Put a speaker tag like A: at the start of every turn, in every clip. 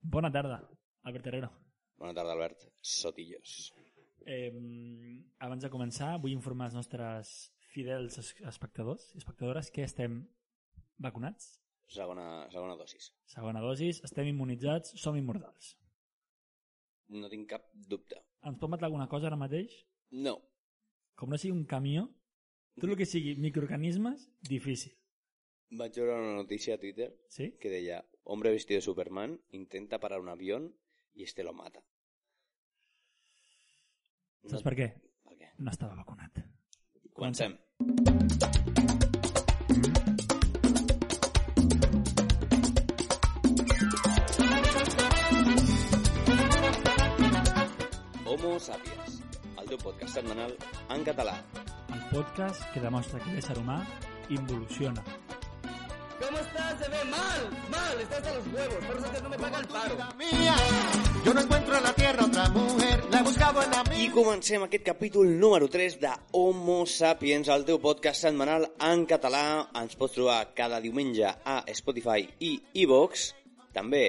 A: Bona tarda, Albert Herrero.
B: Bona tarda, Albert. Sotillos.
A: Eh, abans de començar, vull informar els nostres fidels es- espectadors i espectadores que estem vacunats,
B: Segona, segona dosis.
A: segona dosis, estem immunitzats, som immortals.
B: No tinc cap dubte.
A: Ens pot matar alguna cosa ara mateix?
B: No.
A: Com no sigui un camió, tot el que sigui microorganismes, difícil.
B: Vaig veure una notícia a Twitter
A: Sí?
B: que deia Hombre vestido de Superman intenta parar un avión y este lo mata.
A: Saps per què? Doncs-
B: Per què?
A: No estava vacunat.
B: Comencem. Homo Sapiens, el teu podcast setmanal en català.
A: El podcast que demostra que l'ésser humà involuciona.
C: ¿Cómo estás? Se ve mal, mal, estás a los huevos, por eso es que no me paga el paro.
D: mía. Yo no encuentro en la tierra otra mujer, la he buscado en la
B: I comencem aquest capítol número 3 de Homo Sapiens, el teu podcast setmanal en català. Ens pots trobar cada diumenge a Spotify i iVox. També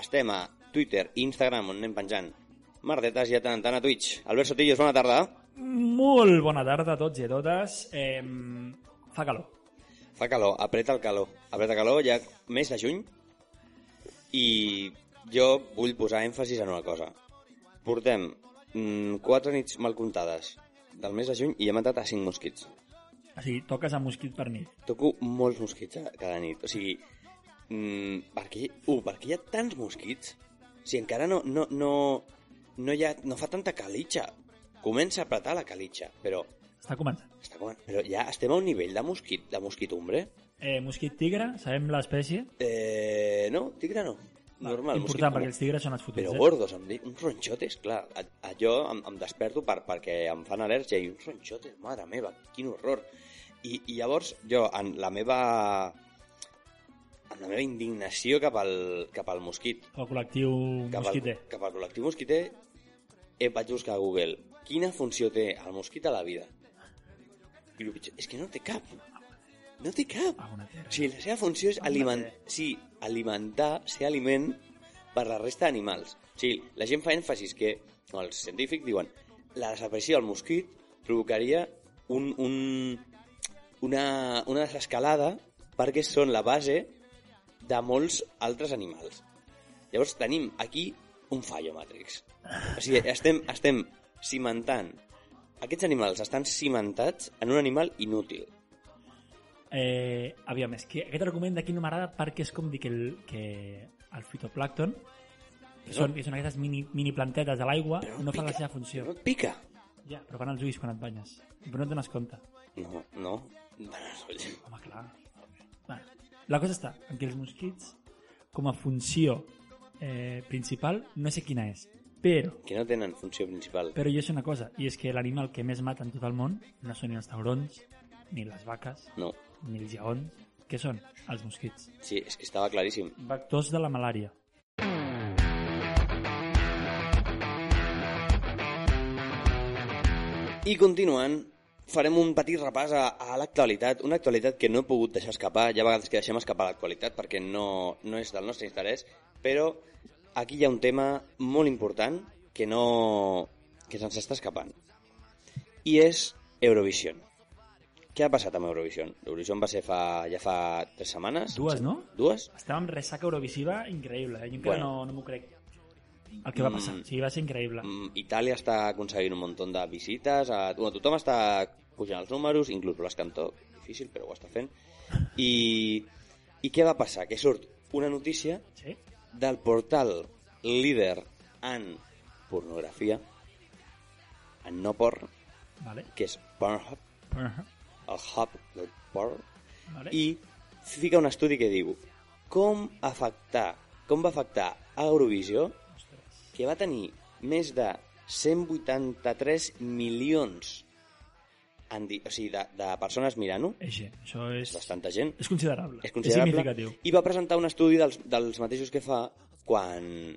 B: estem a Twitter i Instagram on anem penjant merdetes i de tant en tant a Twitch. Albert Sotillos, bona tarda.
A: Molt bona tarda a tots i a totes. Eh, fa calor.
B: Fa calor, apreta el calor. Apreta calor ja mes de juny i jo vull posar èmfasis en una cosa. Portem mm, quatre nits mal comptades del mes de juny i hem entrat a cinc mosquits.
A: O sigui, toques a mosquit per nit.
B: Toco molts mosquits a- cada nit. O sigui, mm, per què, uh, per què hi ha tants mosquits? Si encara no, no, no, no, hi ha, no fa tanta calitxa. Comença a apretar la calitxa, però,
A: Està començant.
B: està com... però ja estem a un nivell de mosquit, de mosquitumbre.
A: Eh, mosquit tigre, sabem l'espècie?
B: Eh, no, tigre no. Normal, mosquit
A: Important, perquè
B: comú.
A: els tigres són els fotuts.
B: Però
A: eh?
B: gordos, em dic, uns ronxotes, clar. A, a jo em, em desperto per, perquè em fan al·lèrgia i uns ronxotes, mare meva, quin horror. I, i llavors jo, en la meva amb la meva indignació cap al, cap al mosquit,
A: El col·lectiu
B: cap
A: mosquiter.
B: al, cap al col·lectiu mosquiter, eh, vaig buscar a Google quina funció té el mosquit a la vida. I el pitjor és que no té cap. No té cap.
A: Alguna Ah, terra.
B: O sigui, la seva funció és aliment...
A: eh.
B: sí, alimentar, ser aliment per la resta d'animals. O sigui, la gent fa èmfasis que, o els científics diuen, la desaparició del mosquit provocaria un, un, una, una desescalada perquè són la base de molts altres animals. Llavors tenim aquí un fallo, Matrix. O sigui, estem, estem cimentant. Aquests animals estan cimentats en un animal inútil.
A: Eh, aviam, és que aquest argument d'aquí no m'agrada perquè és com dir que el, que el fitoplàcton, que són, que són aquestes mini, mini plantetes de l'aigua,
B: Però
A: no fan la
B: pica.
A: seva funció.
B: No et pica.
A: Ja, però van als ulls quan et banyes. Però no et dones compte.
B: No, no. Bueno, oye,
A: Home, clar. Va. La cosa està en que els mosquits, com a funció eh, principal, no sé quina és, però
B: que no tenen funció principal.
A: Però jo sé una cosa, i és que l'animal que més mata en tot el món no són ni els taurons, ni les vaques,
B: No,
A: ni els lleons. Què són? Els mosquits.
B: sí, és que estava claríssim.
A: Vectors de la malària.
B: I continuant, farem un petit repàs a, a l'actualitat, una actualitat que no he pogut deixar escapar, ja a vegades que deixem escapar l'actualitat perquè no, no és del nostre interès, però aquí hi ha un tema molt important que no... que se'ns està escapant. I és Eurovision. Què ha passat amb Eurovision? Eurovision va ser fa, ja fa tres setmanes.
A: Dues, no?
B: Dues?
A: Estava amb ressaca eurovisiva increïble, eh? Jo encara
B: Bueno.
A: no, no m'ho crec. El que va passar,
B: Mm.
A: o sigui, va ser increïble.
B: Mm, Itàlia està aconseguint un munt de visites, a... bueno, tothom està pujant els números, inclús Blas Cantó, difícil, però ho està fent. I, I què va passar? Que surt una notícia
A: Sí?
B: del portal líder en pornografia, en no porn,
A: Vale.
B: que és Pornhub, el hub del porn,
A: vale.
B: i fica un estudi que diu com afectar, com va afectar a Eurovisió
A: Ostres.
B: que va tenir més de 183 milions en di- o sigui, de, de persones mirant-ho,
A: Eh, sí, això és...
B: és bastanta gent,
A: És considerable.
B: és considerable,
A: És significatiu.
B: i va presentar un estudi dels, dels mateixos que fa quan,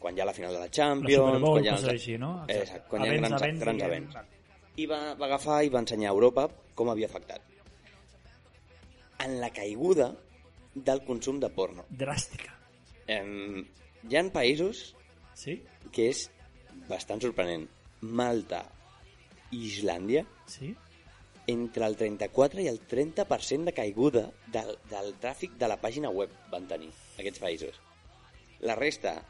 B: quan hi ha la final de la
A: La Super
B: Champions,
A: Bowl,
B: quan hi ha...
A: coses així, no?
B: Eh, Exacte, quan hi ha grans,
A: avenç,
B: grans
A: diguem.
B: events. I va, va agafar i va ensenyar a Europa com havia afectat. En la caiguda del consum de porno.
A: Dràstica.
B: Em, hi han països
A: Sí?
B: que és bastant sorprenent. Malta i Islàndia,
A: Sí?
B: entre el 34 i el 30% de caiguda del, del tràfic de la pàgina web van tenir aquests països. La resta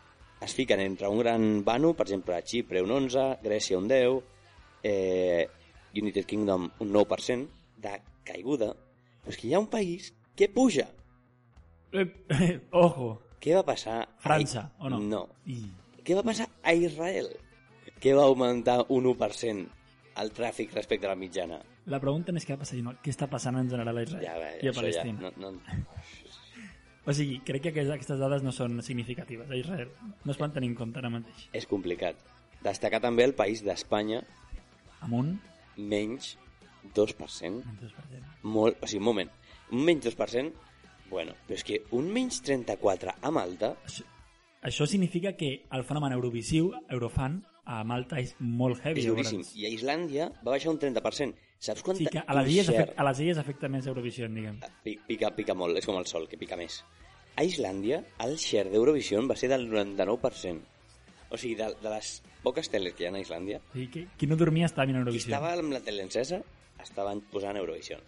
B: es fiquen entre un gran banu, per exemple, a Xipre un 11, Grècia un 10, eh, United Kingdom un 9% de caiguda. Però és que hi ha un país que puja.
A: Eh, Ojo.
B: Què va passar? a-
A: França, o no?
B: No.
A: I...
B: Què va passar a Israel? Que va augmentar un 1% el tràfic respecte a la mitjana.
A: La pregunta més que va passar, no, què està passant en general a Israel
B: Ja, va,
A: i a
B: això ja,
A: Palestina.
B: no, no,
A: O sigui, crec que aquelles- aquestes dades no són significatives a Israel. No es van tenir en compte ara mateix.
B: és complicat. Destacar també el país d'Espanya,
A: Amunt,
B: menys 2%.
A: menys 2%.
B: Molt, o sigui, un moment, un menys 2%, bueno, però és que un menys 34 a Malta,
A: Això, això significa que el fenomen eurovisiu, Eurofan, a Malta és molt heavy.
B: és duríssim.
A: llavors.
B: I a Islàndia va baixar un 30%. Saps
A: O
B: quanta...
A: sigui que a les, illes
B: concert-
A: afecta, a les illes afecta més Eurovisió, diguem.
B: Pi- Pica, pica molt, és com el sol, que pica més. A Islàndia, el share d'Eurovision va ser del 99%. O sigui, de, de les poques teles que hi ha a Islàndia,
A: O sigui, que, qui no dormia estava mirant
B: qui
A: Eurovisió.
B: estava amb la tele encesa, estaven posant Eurovision.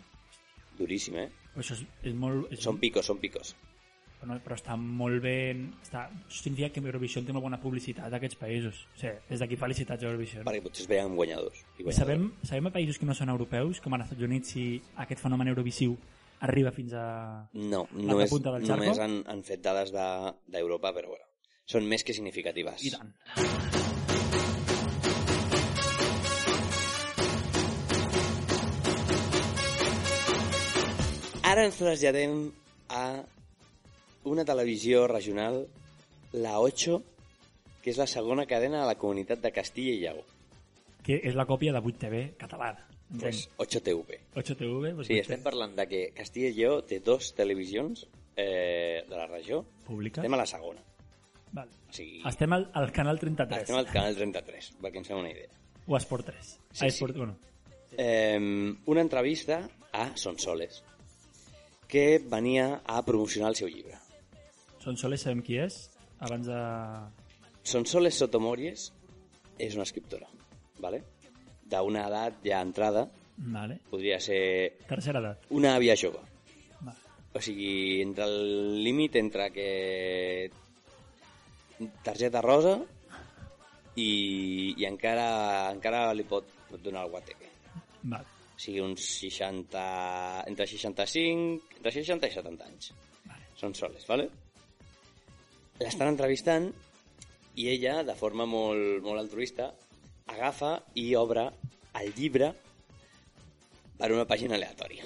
B: Duríssim, eh?
A: Però Això és, és molt... És,
B: Són picos, són picos.
A: Bueno, però està molt ben... Està, això significa que Eurovisió té molt bona publicitat d'aquests països. O sigui, des d'aquí felicitats a Eurovisió.
B: Perquè potser es veien guanyadors. I guanyadors.
A: Sabem, sabem a països que no són europeus, com als Estats Units, si aquest fenomen eurovisiu arriba fins a...
B: No,
A: la
B: només,
A: punta del charco?
B: només han, han fet dades de- d'Europa, de, però bueno, són més que significatives.
A: I tant.
B: Ara ens traslladem a una televisió regional, la 8, que és la segona cadena a la comunitat de Castilla i Lleó.
A: Que és la còpia de 8TV catalana. Doncs
B: Pues
A: Entenc.
B: 8TV.
A: 8TV, doncs
B: Sí, estem parlant de que Castilla i Lleó té dos televisions eh, de la regió.
A: pública.
B: Estem a la segona.
A: Vale.
B: O sigui,
A: Estem al, al canal 33,
B: estem al canal 33, perquè ens fem una idea.
A: o a Esport 3.
B: Sí,
A: a Esport,
B: sí.
A: Bueno,
B: eh, una entrevista a Sonsoles, que venia a promocionar el seu llibre.
A: Son Soles, sabem qui és, abans de...
B: Sonsoles Sotomories és una escriptora, ¿vale? d'una edat ja entrada,
A: Vale.
B: podria ser
A: Tercera edat.
B: una àvia jove.
A: Vale.
B: O sigui, entre el límit entre que targeta rosa i, i encara, encara li pot, pot donar el guateque.
A: Vale.
B: O sigui, uns 60... Entre 65... Entre 60 i 70 anys.
A: Vale.
B: Són soles, vale? L'estan entrevistant i ella, de forma molt, molt altruista, agafa i obre el llibre per una pàgina aleatòria.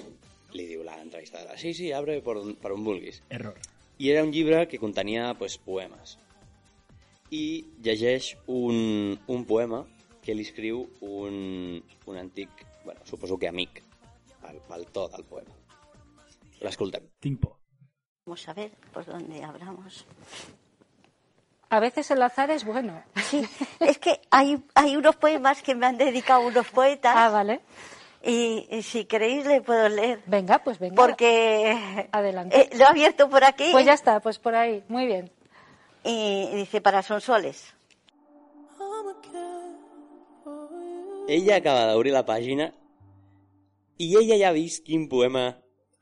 B: Li diu l'entrevistadora, sí, sí, abre per on, per on vulguis.
A: Error.
B: I era un llibre que contenia pues, poemes. I llegeix un, un poema que li escriu un, un antic, bueno, suposo que amic, pel, pel to del poema. L'escoltem.
A: Tinc por.
E: Vamos a ver por dónde hablamos.
F: A veces el azar es bueno.
E: Sí, es que hay, hay unos poemas que me han dedicado unos poetas
F: Ah, vale.
E: y, y si queréis le puedo leer.
F: Venga, pues venga.
E: Porque
F: Adelante.
E: eh, lo he abierto por aquí
F: Pues ya está, pues por ahí. Muy bien.
E: y dice para Sonsoles.
B: Ella acaba d'obrir la pàgina i ella ja ha vist quin poema...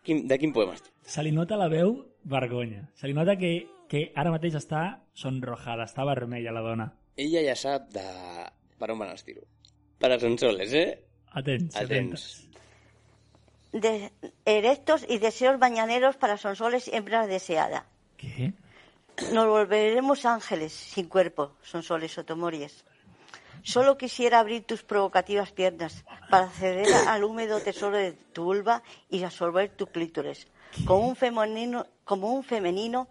B: Quin, de quin poema es tracta.
A: Se li nota la veu vergonya. Se li nota que, que ara mateix està sonrojada, està vermella la dona.
B: Ella ja sap de... per on van els tiros. Per a Sonsoles, eh?
A: Atents,
B: Atents.
A: atentes.
E: De, erectos y deseos mañaneros para Sonsoles, hembra deseada.
A: Què?
E: Nos volveremos ángeles sin cuerpo, Sonsoles Sotomories. Solo quisiera abrir tus provocativas piernas para acceder al húmedo tesoro de tu vulva y absorber tus clítores. Como un femenino, como un femenino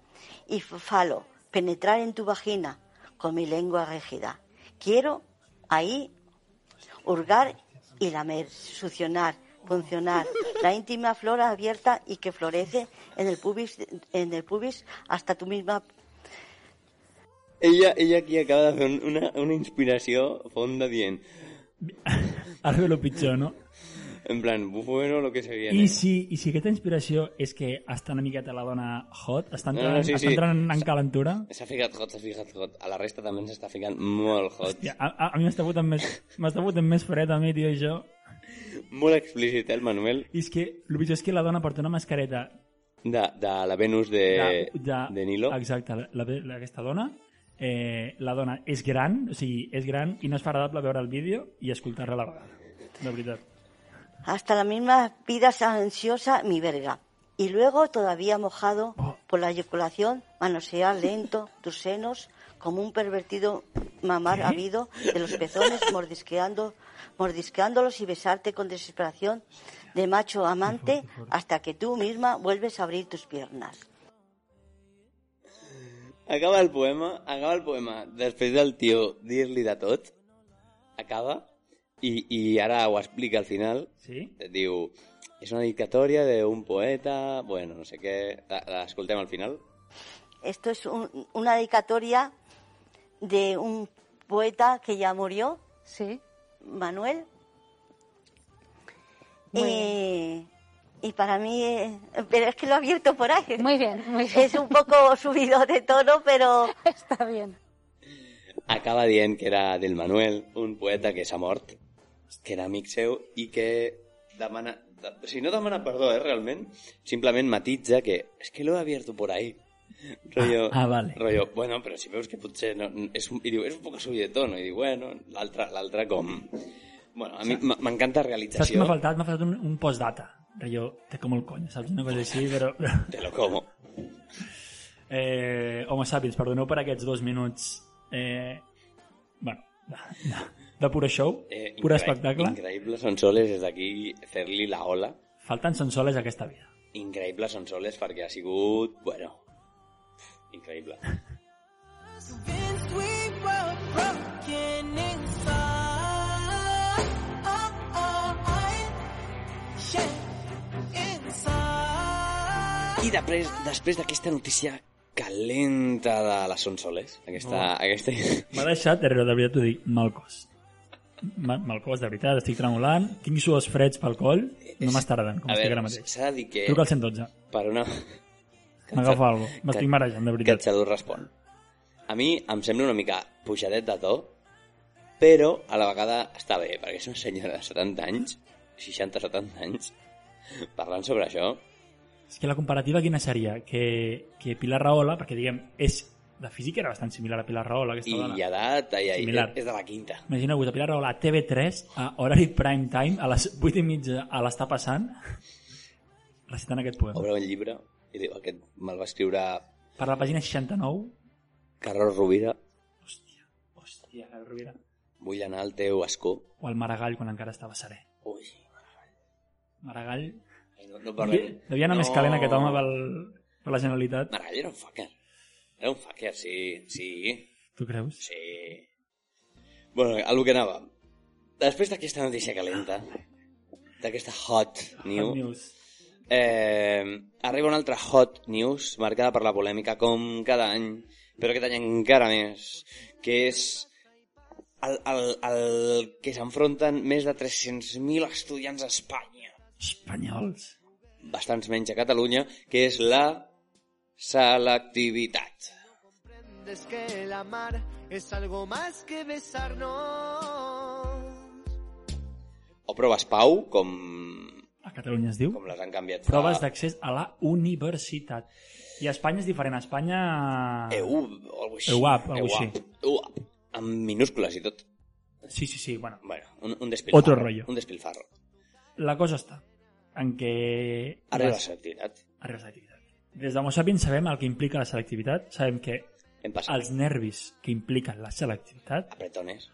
E: y falo, penetrar en tu vagina con mi lengua rígida. Quiero ahí hurgar y lamer, succionar, funcionar la íntima flora abierta y que florece en el pubis, en el pubis hasta tu misma
B: Ella, ella aquí acaba de fer un- una, una inspiració fonda dient
A: Ara ve lo pitjor, no?
B: En plan, bueno, lo que se viene.
A: I si, I si aquesta inspiració és que està una miqueta la dona hot, està
B: No,
A: entrant,
B: no, Ah, sí,
A: està
B: sí.
A: entrant en calentura...
B: S'ha ficat hot, s'ha ficat hot. A la resta també ens està ficant molt hot.
A: Hòstia, a, a, a mi m'està fotent més, m'està fotent més fred a mi, tio, això.
B: Molt explícit, eh, el Manuel,
A: I és que el pitjor és que la dona porta una mascareta
B: de, de la Venus de,
A: de,
B: Eh, de, Nilo.
A: Exacte, la, la, aquesta dona. Eh, la dona és gran, o sigui, és gran i no és agradable veure el vídeo i escoltar-la a la vegada. De veritat.
E: Hasta la misma vida ansiosa mi verga. Y luego, todavía mojado por la eyaculación, manosear lento tus senos como un pervertido mamar habido de los pezones, mordisqueando, mordisqueándolos y besarte con desesperación de macho amante hasta que tú misma vuelves a abrir tus piernas.
B: Acaba el poema, acaba el poema. Després del tio dir-li de tot, acaba, i, i ara ho explica al final,
A: Sí?
B: et diu, és una dictatòria d'un poeta, bueno, no sé què, La- l'escoltem al final.
E: Esto es un- una dedicatoria de un poeta que ya murió,
F: Sí.
E: Manuel.
F: Muy
E: Eh, y para mí, eh, pero es que lo he abierto por ahí.
F: Muy bien, muy bien.
E: Es un poco subido de tono, pero
F: Está bien.
B: Acaba dient que era del Manuel, un poeta que s'ha mort, que era amic seu i que demana... de- O sigui, no demana perdó, eh, realment. Simplement matitza que és es que lo he abierto por ahí. Rollo,
A: Ah, ah, vale.
B: Rollo, bueno, però si veus que potser... No, és un, I diu, és un poc subit de tono. I diu, bueno, l'altre l'altre com... Bueno, a mi m- m'encanta
A: Saps què
B: realització.
A: m'ha faltat? M'ha faltat un, un postdata. Jo te com el cony, saps? Una cosa així, però...
B: Te lo como.
A: Eh, home, sàpids, perdoneu per aquests dos minuts... Eh, bueno, de, de pura show, eh, pura
B: increï-
A: espectacle.
B: Increïble Sonsoles des d'aquí fer-li la ola.
A: Falten sonsoles a aquesta vida.
B: Increïble Sonsoles perquè ha sigut... Bueno, increïble. I després després d'aquesta notícia calenta de la Sonsoles, aquesta,
A: Oh.
B: aquesta...
A: M'ha deixat, de veritat, de veritat t'ho dic, mal cos. Ma- Mal cos, de veritat, estic tremolant. Tinc suors freds pel coll, no m'estarden, com
B: A
A: estic
B: veure,
A: ara mateix.
B: s'ha de dir que
A: Truca al 112,
B: per una...
A: m'agafa alguna cosa. M'estic
B: que-
A: marejant, de veritat.
B: Catxador respon. A mi em sembla una mica pujadet de to, però a la vegada està bé, perquè és una senyora de 70 anys, 60-70 anys, parlant sobre això,
A: És que la comparativa quina seria? Que, que Pilar Rahola, perquè diguem, és la física era bastant similar a Pilar Rahola, aquesta
B: i
A: dona.
B: edat, i, i
A: Similar.
B: és de la quinta.
A: Imagineu-vos, a Pilar Rahola a TV3, a horari prime time, a les 8 i mitja a l'està passant, recitant aquest poema.
B: Obre un llibre i diu, aquest me'l va escriure
A: Per la pàgina 69,
B: Carlos Rovira,
A: hòstia, Carol Rovira,
B: vull anar al teu escó.
A: o el Maragall quan encara estava serè.
B: Ui,
A: Maragall,
B: no, no parlem.
A: Devia devia anar no. més calent aquest home pel, per la Generalitat.
B: Maragall era un fucker. Era un fucker, sí, sí,
A: Tu creus?
B: sí. Bueno, a lo que anava. Després d'aquesta notícia calenta, d'aquesta hot
A: Hot
B: new,
A: News.
B: eh, arriba una altra hot news marcada per la polèmica com cada any, però aquest any encara més, que és el, el, el que s'enfronten més de 300.000 estudiants a Espanya
A: Espanyols.
B: bastants menys a Catalunya, que és la selectivitat.
D: Es que el amar es algo más que besarnos.
B: O proves pau, com,
A: A Catalunya es diu.
B: com les han canviat. fa-
A: Proves d'accés a la universitat. I a Espanya és diferent. A Espanya...
B: EU, E o alguna cosa E
A: EUAP, alguna cosa així.
B: EUAP, amb minúscules i tot.
A: Sí, sí, sí. Bueno,
B: Bueno, un, un despilfarro.
A: Otro rollo.
B: Un despilfarro.
A: la cosa està en què...
B: Arriba la selectivitat.
A: Arriba la selectivitat. Des d'Homo Sapiens sabem el que implica la selectivitat. Sabem que
B: Hem passat
A: els nervis que impliquen la selectivitat
B: apretones.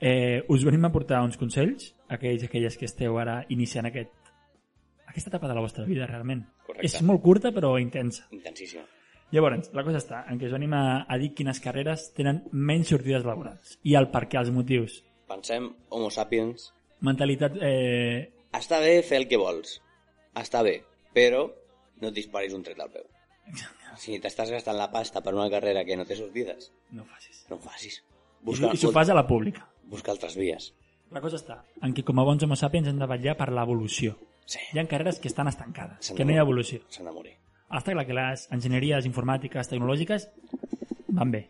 A: Eh, us venim a portar uns consells, aquells i aquelles que esteu ara iniciant aquest, aquesta etapa de la vostra vida, realment.
B: Correcte.
A: És molt curta, però intensa.
B: Intensíssim.
A: Llavors, la cosa està en què us venim a, a dir quines carreres tenen menys sortides laborals i el per què, els motius.
B: Pensem, homo sapiens,
A: Mentalitat... Eh,
B: està bé fer el que vols. Està bé, però no et disparis un tret al peu. Si t'estàs gastant la pasta per una carrera que no té sortides,
A: no ho facis.
B: no ho facis.
A: Busca, I,
B: Busca,
A: si- I s'ho fas a la pública.
B: busca altres vies.
A: La cosa està en què com a bons homo sapiens hem de vetllar per l'evolució.
B: Sí.
A: Hi ha carreres que estan estancades,
B: S'han
A: que no hi
B: de
A: ha
B: morir.
A: evolució.
B: S'han de morir.
A: Està clar que les enginyeries informàtiques, tecnològiques, van bé.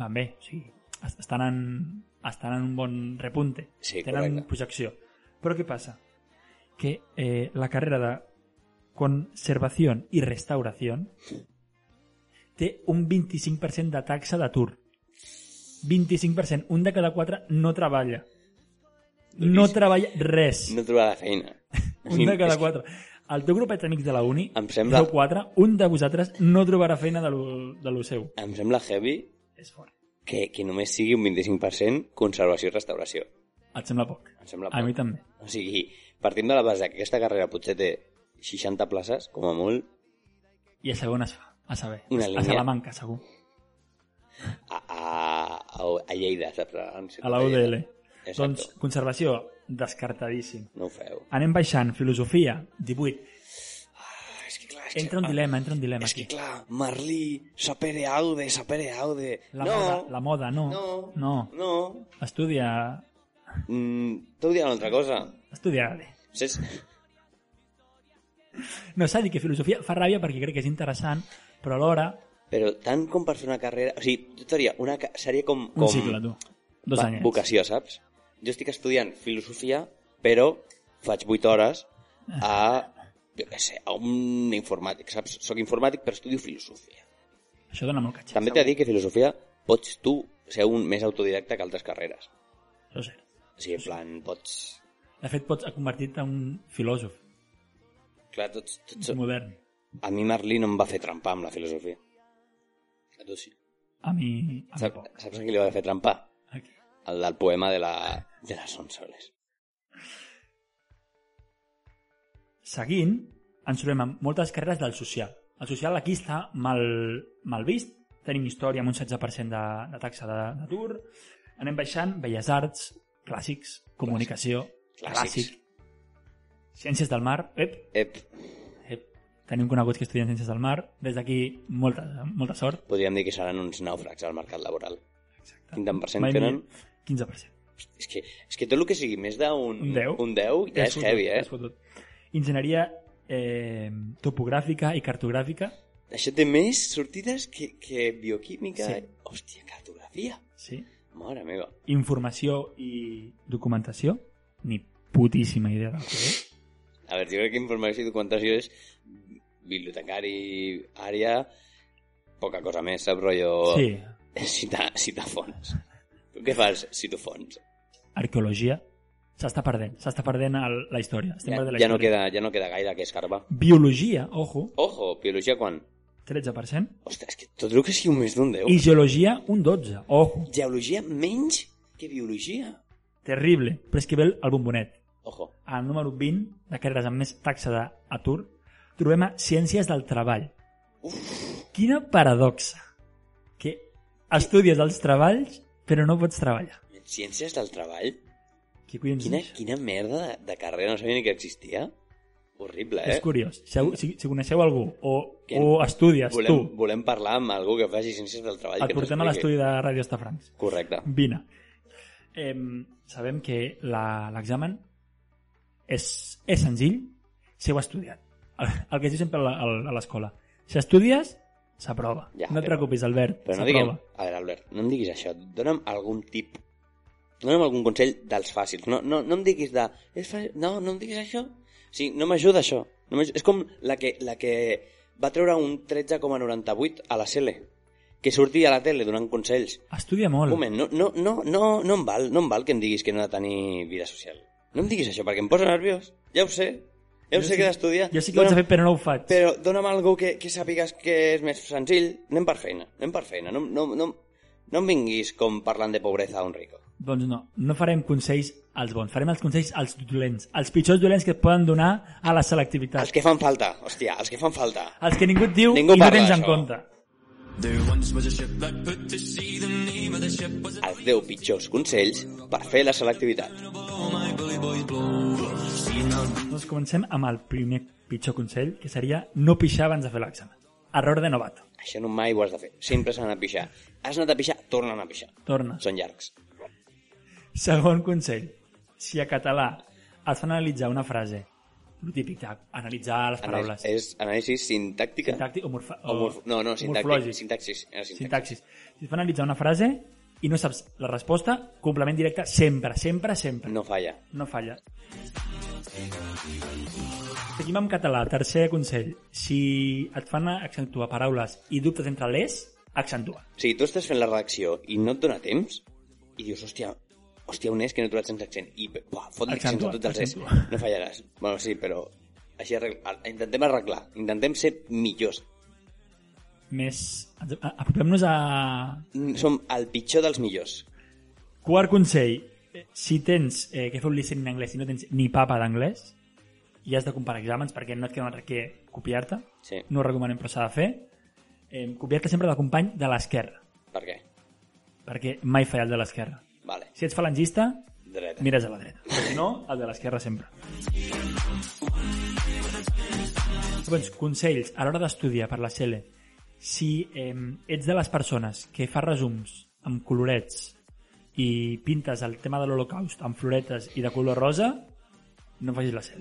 A: Van bé, o sigui, es- estan en, estan en un bon repunte.
B: Sí,
A: tenen
B: correcte.
A: projecció. Però què passa? Que eh, la carrera de conservació i restauració té un 25% de taxa d'atur. 25%. Un de cada quatre no treballa. No
B: Duríssim.
A: treballa res.
B: No trobarà feina.
A: Un de cada
B: És que
A: quatre. El teu grupet d'amics de la uni,
B: Em sembla-
A: sou quatre, un de vosaltres no trobarà feina de lo, de lo seu.
B: Em sembla heavy
A: És fort.
B: que, que només sigui un 25% conservació i restauració.
A: Et sembla poc.
B: Em sembla
A: A
B: poc.
A: mi també.
B: O sigui, partint de la base que aquesta carrera potser té 60 places, com a molt,
A: I a saber on es fa. A saber.
B: Una
A: A
B: línia.
A: Salamanca, segur.
B: a, a, a, a Lleida, saps? En ciutat
A: A la
B: de Lleida.
A: UDL.
B: Exacte.
A: Doncs, conservació, descartadíssim.
B: No ho feu.
A: Anem baixant. Filosofia, 18.
B: Ah, és que clar, és
A: Entra
B: que,
A: un dilema, entra un dilema
B: És que
A: aquí.
B: clar, Merlí, sapere aude, sapere aude.
A: La
B: no,
A: moda, la moda, no.
B: no,
A: No.
B: no.
A: Estudia...
B: Mm, T'ho diré una altra cosa.
A: Estudia.
B: Saps?
A: No, s'ha dit que filosofia fa ràbia perquè crec que és interessant, però alhora...
B: Però tant com per fer una carrera... O sigui, tu seria, una, ca- seria com...
A: Un
B: com
A: cicle, tu. Dos
B: va-
A: anyets.
B: Vocació, saps? Jo estic estudiant filosofia, però faig 8 hores a, jo què sé, a un informàtic, saps? Soc informàtic, però estudio filosofia.
A: Això dona molt catxer.
B: També t'he de dir que filosofia pots tu ser un més autodidacta que altres carreres.
A: Això és cert.
B: O sigui, en plan, pots...
A: De fet, pots convertir-te en un filòsof
B: Clar, tots, tots...
A: modern.
B: A mi Merlí no em va fer trampa amb la filosofia. A tu sí.
A: A mi, a mi
B: Saps,
A: poc.
B: saps a qui li va fer trampa?
A: Aquí.
B: El del poema de, la, de les Sonsoles.
A: Seguint, ens trobem amb moltes carreres del social. El social aquí està mal, mal vist. Tenim història amb un 16% de, de taxa de- d'atur. Anem baixant, belles arts, clàssics, comunicació,
B: Clàssics.
A: clàssic, ciències del mar, ep,
B: Ep,
A: ep. Tenim coneguts que estudien ciències del mar. Des d'aquí, molta, molta sort.
B: podríem dir que seran uns nàufrags al mercat laboral.
A: Exacte.
B: Quin tant percent tenen?
A: 15%.
B: És que, és que tot el que sigui més d'un
A: Un 10.
B: un 10 ja és
A: fotut,
B: heavy, eh?
A: és fotut. Enginyeria eh, topogràfica i cartogràfica.
B: Això té més sortides que, que bioquímica.
A: Sí.
B: Hòstia, cartografia.
A: Sí.
B: Mare meva.
A: Informació i documentació. Ni putíssima idea del que és.
B: A veure, jo crec que informació i documentació és bibliotecari, àrea, poca cosa més, saps, rotllo...
A: Sí.
B: Cita, cita fons. Tu què fas si tu fons?
A: Arqueologia. S'està perdent. S'està perdent el, la història. Estem
B: Ja,
A: perdent la
B: ja, no
A: història.
B: queda, ja no queda gaire que escarbar.
A: Biologia, ojo,
B: Ojo, biologia quan?
A: 13%.
B: Ostres, és que tot el que sigui un més d'un 10.
A: I geologia, un 12%. Ojo,
B: Geologia menys que biologia.
A: terrible. Però és que ve el el bombonet.
B: Ojo.
A: Al número 20 de carreres amb més taxa d'atur trobem a Ciències del Treball. Quina paradoxa. Que estudies els treballs, però no pots treballar.
B: Ciències del treball?
A: Qui collons
B: Quina,
A: és?
B: quina merda de, de carrera, no sabia ni que existia. Horrible, eh?
A: És curiós. Si, algú- si, si coneixeu algú o,
B: Que
A: o estudies
B: volem,
A: tu,
B: volem parlar amb algú que faci ciències del treball.
A: et
B: que ens
A: portem a
B: expliqui.
A: l'estudi de Ràdio Estafrancs.
B: Correcte.
A: Vine. Em, sabem que la- l'examen és, és senzill si ho has estudiat. El, el que es diu sempre a la- a a l'escola. Si estudies, s'aprova.
B: Ja,
A: no et
B: però-
A: preocupis, Albert.
B: Però no
A: s'aprova.
B: diguem... A veure, Albert, no em diguis això. Dóna'm algun tip. Dóna'm algun consell dels fàcils. No, no, no em diguis de... És fàcil. No, no em diguis això. Sí, no m'ajuda això. No m'ajuda. és com la que, la que va treure un 13,98 a la Sele. Que sortia a la tele donant consells.
A: Estudia molt.
B: Un moment, no, no, no, no, no em val, no em val que em diguis que no he de tenir vida social. No em diguis això, perquè em posa nerviós. Ja ho sé. Ja ho sé que he d'estudiar.
A: Jo sí que ho vaig
B: Dóna'm-
A: fer, però no ho faig.
B: Però dona'm algú que, que sàpigues que és més senzill. Anem per feina, anem per feina. No, no, no, no em vinguis com parlant de pobresa a un rico.
A: Doncs no, no farem consells als bons, farem els consells als dolents, als pitjors dolents que et poden donar a la selectivitat.
B: Els que fan falta, hòstia, els que fan falta.
A: Els que ningú et diu
B: Ningú
A: i no
B: parla
A: tens en
B: d'això.
A: compte.
B: Els 10 pitjors consells per fer la selectivitat.
A: Doncs comencem amb el primer pitjor consell, que seria no pixar abans de fer l'examen. Error de novato.
B: Això no mai ho has de fer. Sempre s'ha d'anar a pixar. Has anat a pixar, torna a anar a pixar.
A: Torna.
B: Són llargs.
A: Segon consell. si a català et fan analitzar una frase, el típic de analitzar les paraules,
B: És anàlisis sintàctica.
A: sintàctic o, morfa,
B: O morf- eh, no, no, sintàctic.
A: morfològic,
B: Sintaxis. era sintaxis.
A: sintaxis. Si et fan analitzar una frase i no saps la resposta, complement directe sempre, sempre, sempre.
B: No falla.
A: No falla. Seguim amb català. Tercer consell. Si et fan accentuar paraules i dubtes entre les, accentua.
B: O sigui, tu estàs fent la redacció i no et dona temps i dius, hòstia, hòstia, un és que no he trobat sense accent. I buah, fot l'accent a
A: Accentua,
B: tots els és.
A: accentua.
B: No fallaràs. Bueno, sí, però així arregla, intentem arreglar. Intentem ser millors.
A: Més... a- Apropem-nos a...
B: Mm, Som el pitjor dels millors.
A: Quart consell. Eh, Si tens eh, que fer un listening en anglès i no tens ni papa d'anglès, i has de comparar exàmens perquè no et queda un altre que copiar-te.
B: Sí.
A: No ho recomanem, però s'ha de fer. Eh, copiar-te sempre del company de l'esquerra,
B: Per què?
A: perquè mai farà el de l'esquerra.
B: Vale.
A: Si ets falangista,
B: Dreta.
A: mires a la dreta. Si no, el de l'esquerra sempre. Doncs, consells a l'hora d'estudiar per la CL. Si eh, ets de les persones que fa resums amb colorets i pintes el tema de l'Holocaust amb floretes i de color rosa, no facis la CL.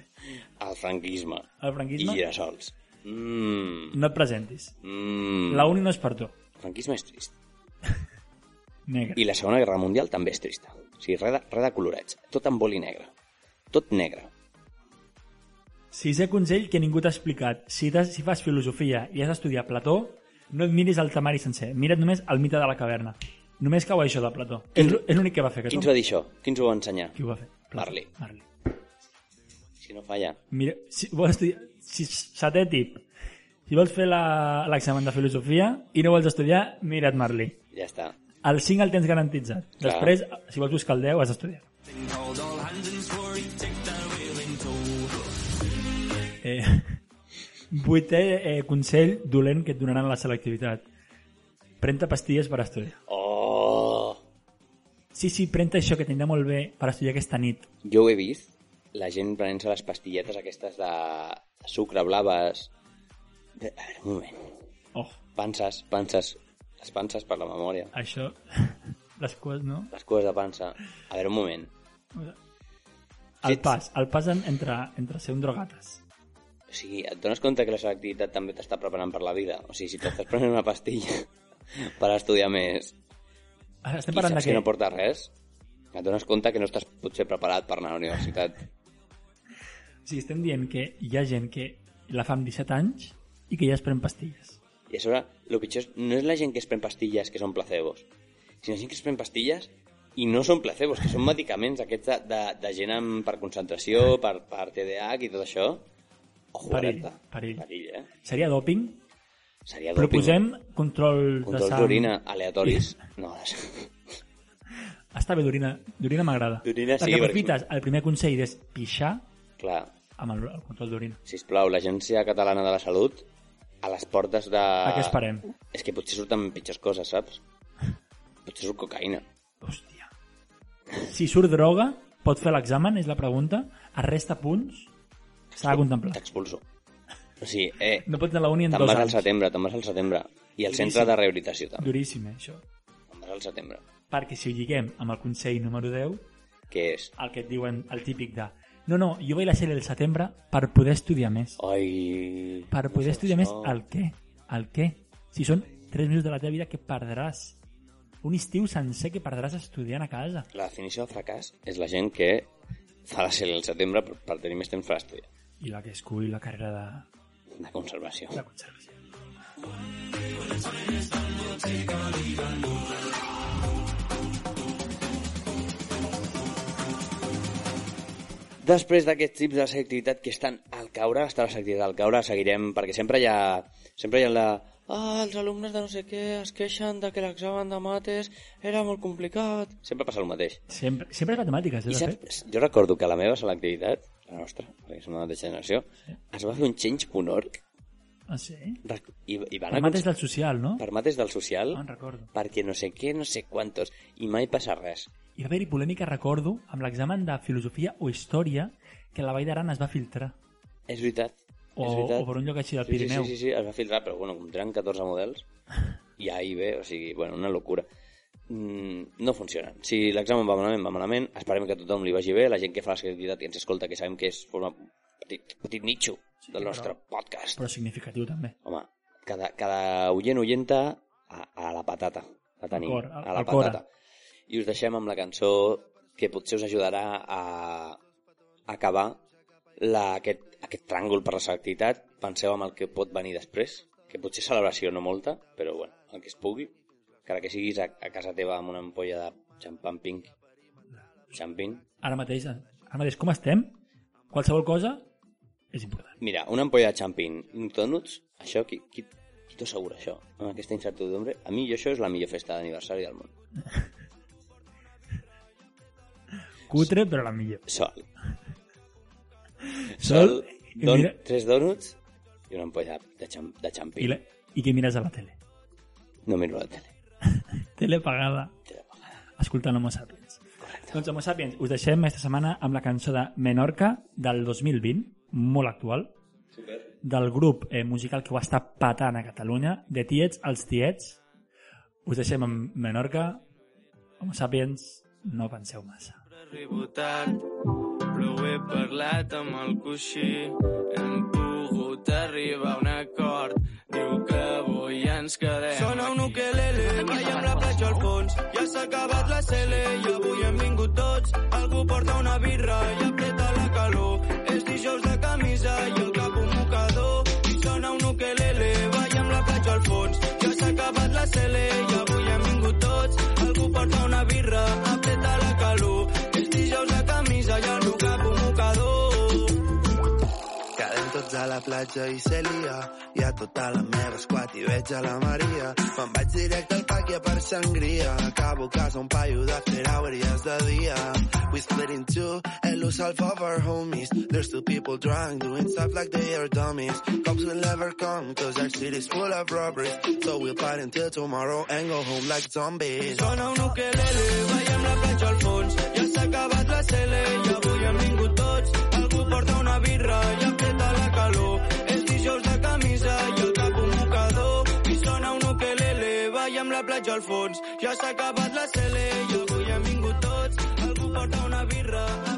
B: El franquisme.
A: El
B: I
A: franquisme,
B: girassols. Mmm.
A: no et presentis.
B: Mm.
A: La uni no és per tu.
B: El franquisme és trist.
A: Negre.
B: I la Segona Guerra Mundial també és trista. O sigui, res de, res de colorets. Tot amb boli negre. Tot negre.
A: Sisè consell que ningú t'ha explicat. Si, t'has- si fas filosofia i has d'estudiar Plató, no et miris el temari sencer. Mira't només el mite de la caverna. Només cau això de Plató. És l'ú- és l'únic que va fer.
B: Qui ens
A: Plató.
B: va dir això? Qui ens ho va ensenyar?
A: Qui ho va fer? Plató.
B: Marley.
A: Marley.
B: Si no falla.
A: Mira, si vols estudiar... Si, setè tip. Si vols fer la- l'examen de filosofia i no vols estudiar, mira't Marley.
B: Ja està.
A: El 5 el tens garantitzat.
B: Clar.
A: Després, si vols buscar el 10, has d'estudiar. Eh, vuitè eh, consell dolent que et donaran a la selectivitat. Prenta pastilles per estudiar.
B: Oh!
A: Sí, sí, prenta això que t'anirà molt bé per estudiar aquesta nit.
B: Jo ho he vist, la gent prenent-se les pastilletes aquestes de sucre blaves... De- A veure, un moment.
A: Oh,
B: Panses, panses. Les panses per la memòria.
A: això... Les coses, no?
B: Les cues de pansa. A veure, un moment.
A: El
B: Ets-
A: pas, el pas en- entre, entre ser un drogates.
B: O sigui, et dones compte que la selectivitat també t'està preparant per la vida? O sigui, si t'estàs prenent una pastilla per estudiar més
A: Ara, Estem
B: i saps
A: parlant de
B: que...
A: què?
B: no porta res, et dones compte que no estàs potser preparat per anar a la universitat.
A: O sigui, estem dient que hi ha gent que la fa amb 17 anys i que ja es pren pastilles.
B: I a sobre, el pitjor és, no és la gent que es pren pastilles que són placebos, sinó gent que es pren pastilles i no són placebos, que són medicaments aquests de, de, de gent amb, per concentració, per, per TDAH i tot això. Ojo,
A: Perill,
B: alerta.
A: perill.
B: Perill, eh?
A: Seria doping?
B: Seria doping.
A: Proposem control, de
B: Controls
A: sang.
B: d'orina aleatoris. No,
A: Està bé, d'orina. D'orina m'agrada.
B: D'orina sí,
A: Perquè
B: perquè-
A: aprofites el primer consell és pixar
B: clar.
A: amb el, el control d'orina.
B: Sisplau, l'Agència Catalana de la Salut a les portes de...
A: A què esperem?
B: És que potser surten pitjors coses, saps? Potser surt cocaïna.
A: Hòstia. Si surt droga, pot fer l'examen, és la pregunta. Arresta punts, s'ha de contemplar.
B: T'expulso. O sigui, eh,
A: No pots anar a la uni en
B: te'n
A: dos
B: vas al
A: anys.
B: setembre, te'n vas al setembre. I al centre de rehabilitació també.
A: Duríssim, eh, això.
B: Te'n vas al setembre.
A: Perquè si ho lliguem amb el consell número 10,
B: Què és?
A: el que et diuen el típic de no, no, jo vaig a la sèrie del setembre per poder estudiar més.
B: Ai...
A: Per
B: no
A: poder
B: sé,
A: estudiar més,
B: no.
A: el què? El què? Si són 3 mesos de la teva vida que perdràs. Un estiu sencer que perdràs estudiant a casa.
B: La definició de fracàs és la gent que fa la sèrie al setembre per, per tenir més temps per estudiar.
A: I la que escull la carrera de,
B: De conservació.
A: de conservació.
B: Després d'aquests tips de selectivitat que estan al caure, està la selectivitat al caure, seguirem, perquè sempre hi ha, sempre hi ha la... Ah, els alumnes de no sé què es queixen de que l'examen de mates era molt complicat. Sempre passa el mateix.
A: Sempre, sempre és matemàtiques, eh,
B: I
A: de fet.
B: saps, jo recordo que la meva selectivitat, la nostra, perquè som de la mateixa generació, es va fer un change.org
A: Ah, sí?
B: rec- i, i van
A: El mates
B: aconseguir
A: del social, no?
B: per mates del social
A: No en recordo.
B: perquè no sé què, no sé quantos, i mai passa res.
A: Hi va haver-hi polèmica, recordo, amb l'examen de filosofia o història que la Vall d'Aran es va filtrar.
B: És veritat.
A: O,
B: és veritat.
A: o per un lloc així del
B: sí, sí,
A: Pirineu.
B: sí, sí, sí, es va filtrar, però bueno, com tenen 14 models, i ahí ve, o sigui, bueno, una locura. mm, no funcionen. Si l'examen va malament, va malament. Esperem que a tothom li vagi bé, la gent que fa la selectivitat i ens escolta, que sabem que és forma petit, petit nitxo
A: Sí,
B: del nostre
A: però-
B: podcast.
A: Però significatiu també.
B: Home, cada, cada oient oyenta a, a la patata. La tenim,
A: cor,
B: a,
A: al-
B: la
A: al cor.
B: patata. I us deixem amb la cançó que potser us ajudarà a acabar la, aquest, aquest tràngol per la selectivitat. Penseu amb el que pot venir després, que potser celebració no molta, però bueno, el que es pugui. Encara que siguis a, a casa teva amb una ampolla de xampan pink, xampin,
A: Ara mateix, ara mateix com estem, qualsevol cosa és important.
B: Mira, una ampolla de xampin i un donuts, això, qui, qui, qui t'ho assegura, això? Amb aquesta incertidumbre, a mi això és la millor festa d'aniversari del món.
A: Cutre, però la millor.
B: Sol.
A: Sol, i
B: don,
A: mira-
B: tres donuts i una ampolla de, xam, de xampin.
A: I, la, i què mires a la tele?
B: No miro la tele.
A: Tele pagada,
B: Te la pago.
A: escoltant Homo Sapiens. Doncs Homo Sapiens, us deixem aquesta setmana amb la cançó de Menorca del 2020, molt actual, Super. del grup eh, musical que ho està patant a Catalunya, de Tiets als Tiets. Us deixem amb Menorca, Homo Sapiens, no penseu massa.
G: rebotat, però ho he parlat amb el coixí. Hem pogut arribar a un acord, diu que avui ens quedem Sona un ukelele, veiem la platja al fons. Ja s'ha acabat la cele i avui hem vingut tots. Algú porta una birra i apreta la calor. És dijous de camisa i el cap un mocador. I sona un ukelele, veiem la platja al fons. Ja s'ha acabat la cele i avui hem vingut tots. Algú porta una birra, apreta la calor. És dijous de camisa i el cap un mocador.
H: Quedem tots a la platja i Celia i a tota la meva esquat i veig a la Maria me'n vaig directe al pàquia per sangria acabo a casa un paio de ferauries de dia we split in two and lose half of our homies there's two people drunk doing stuff like they are dummies cops will never come cause our city's full of robberies so we'll fight until tomorrow and go home like zombies
G: Sona un ukelele, veiem la platja al fons. Ja s'ha acabat la cele i avui hem vingut tots. Algú porta una birra i apreta la calor. És dijous de camisa i el cap un mocador. I sona un ukelele, veiem la platja al fons. Ja s'ha acabat la cele i avui hem vingut tots. Algú porta una birra,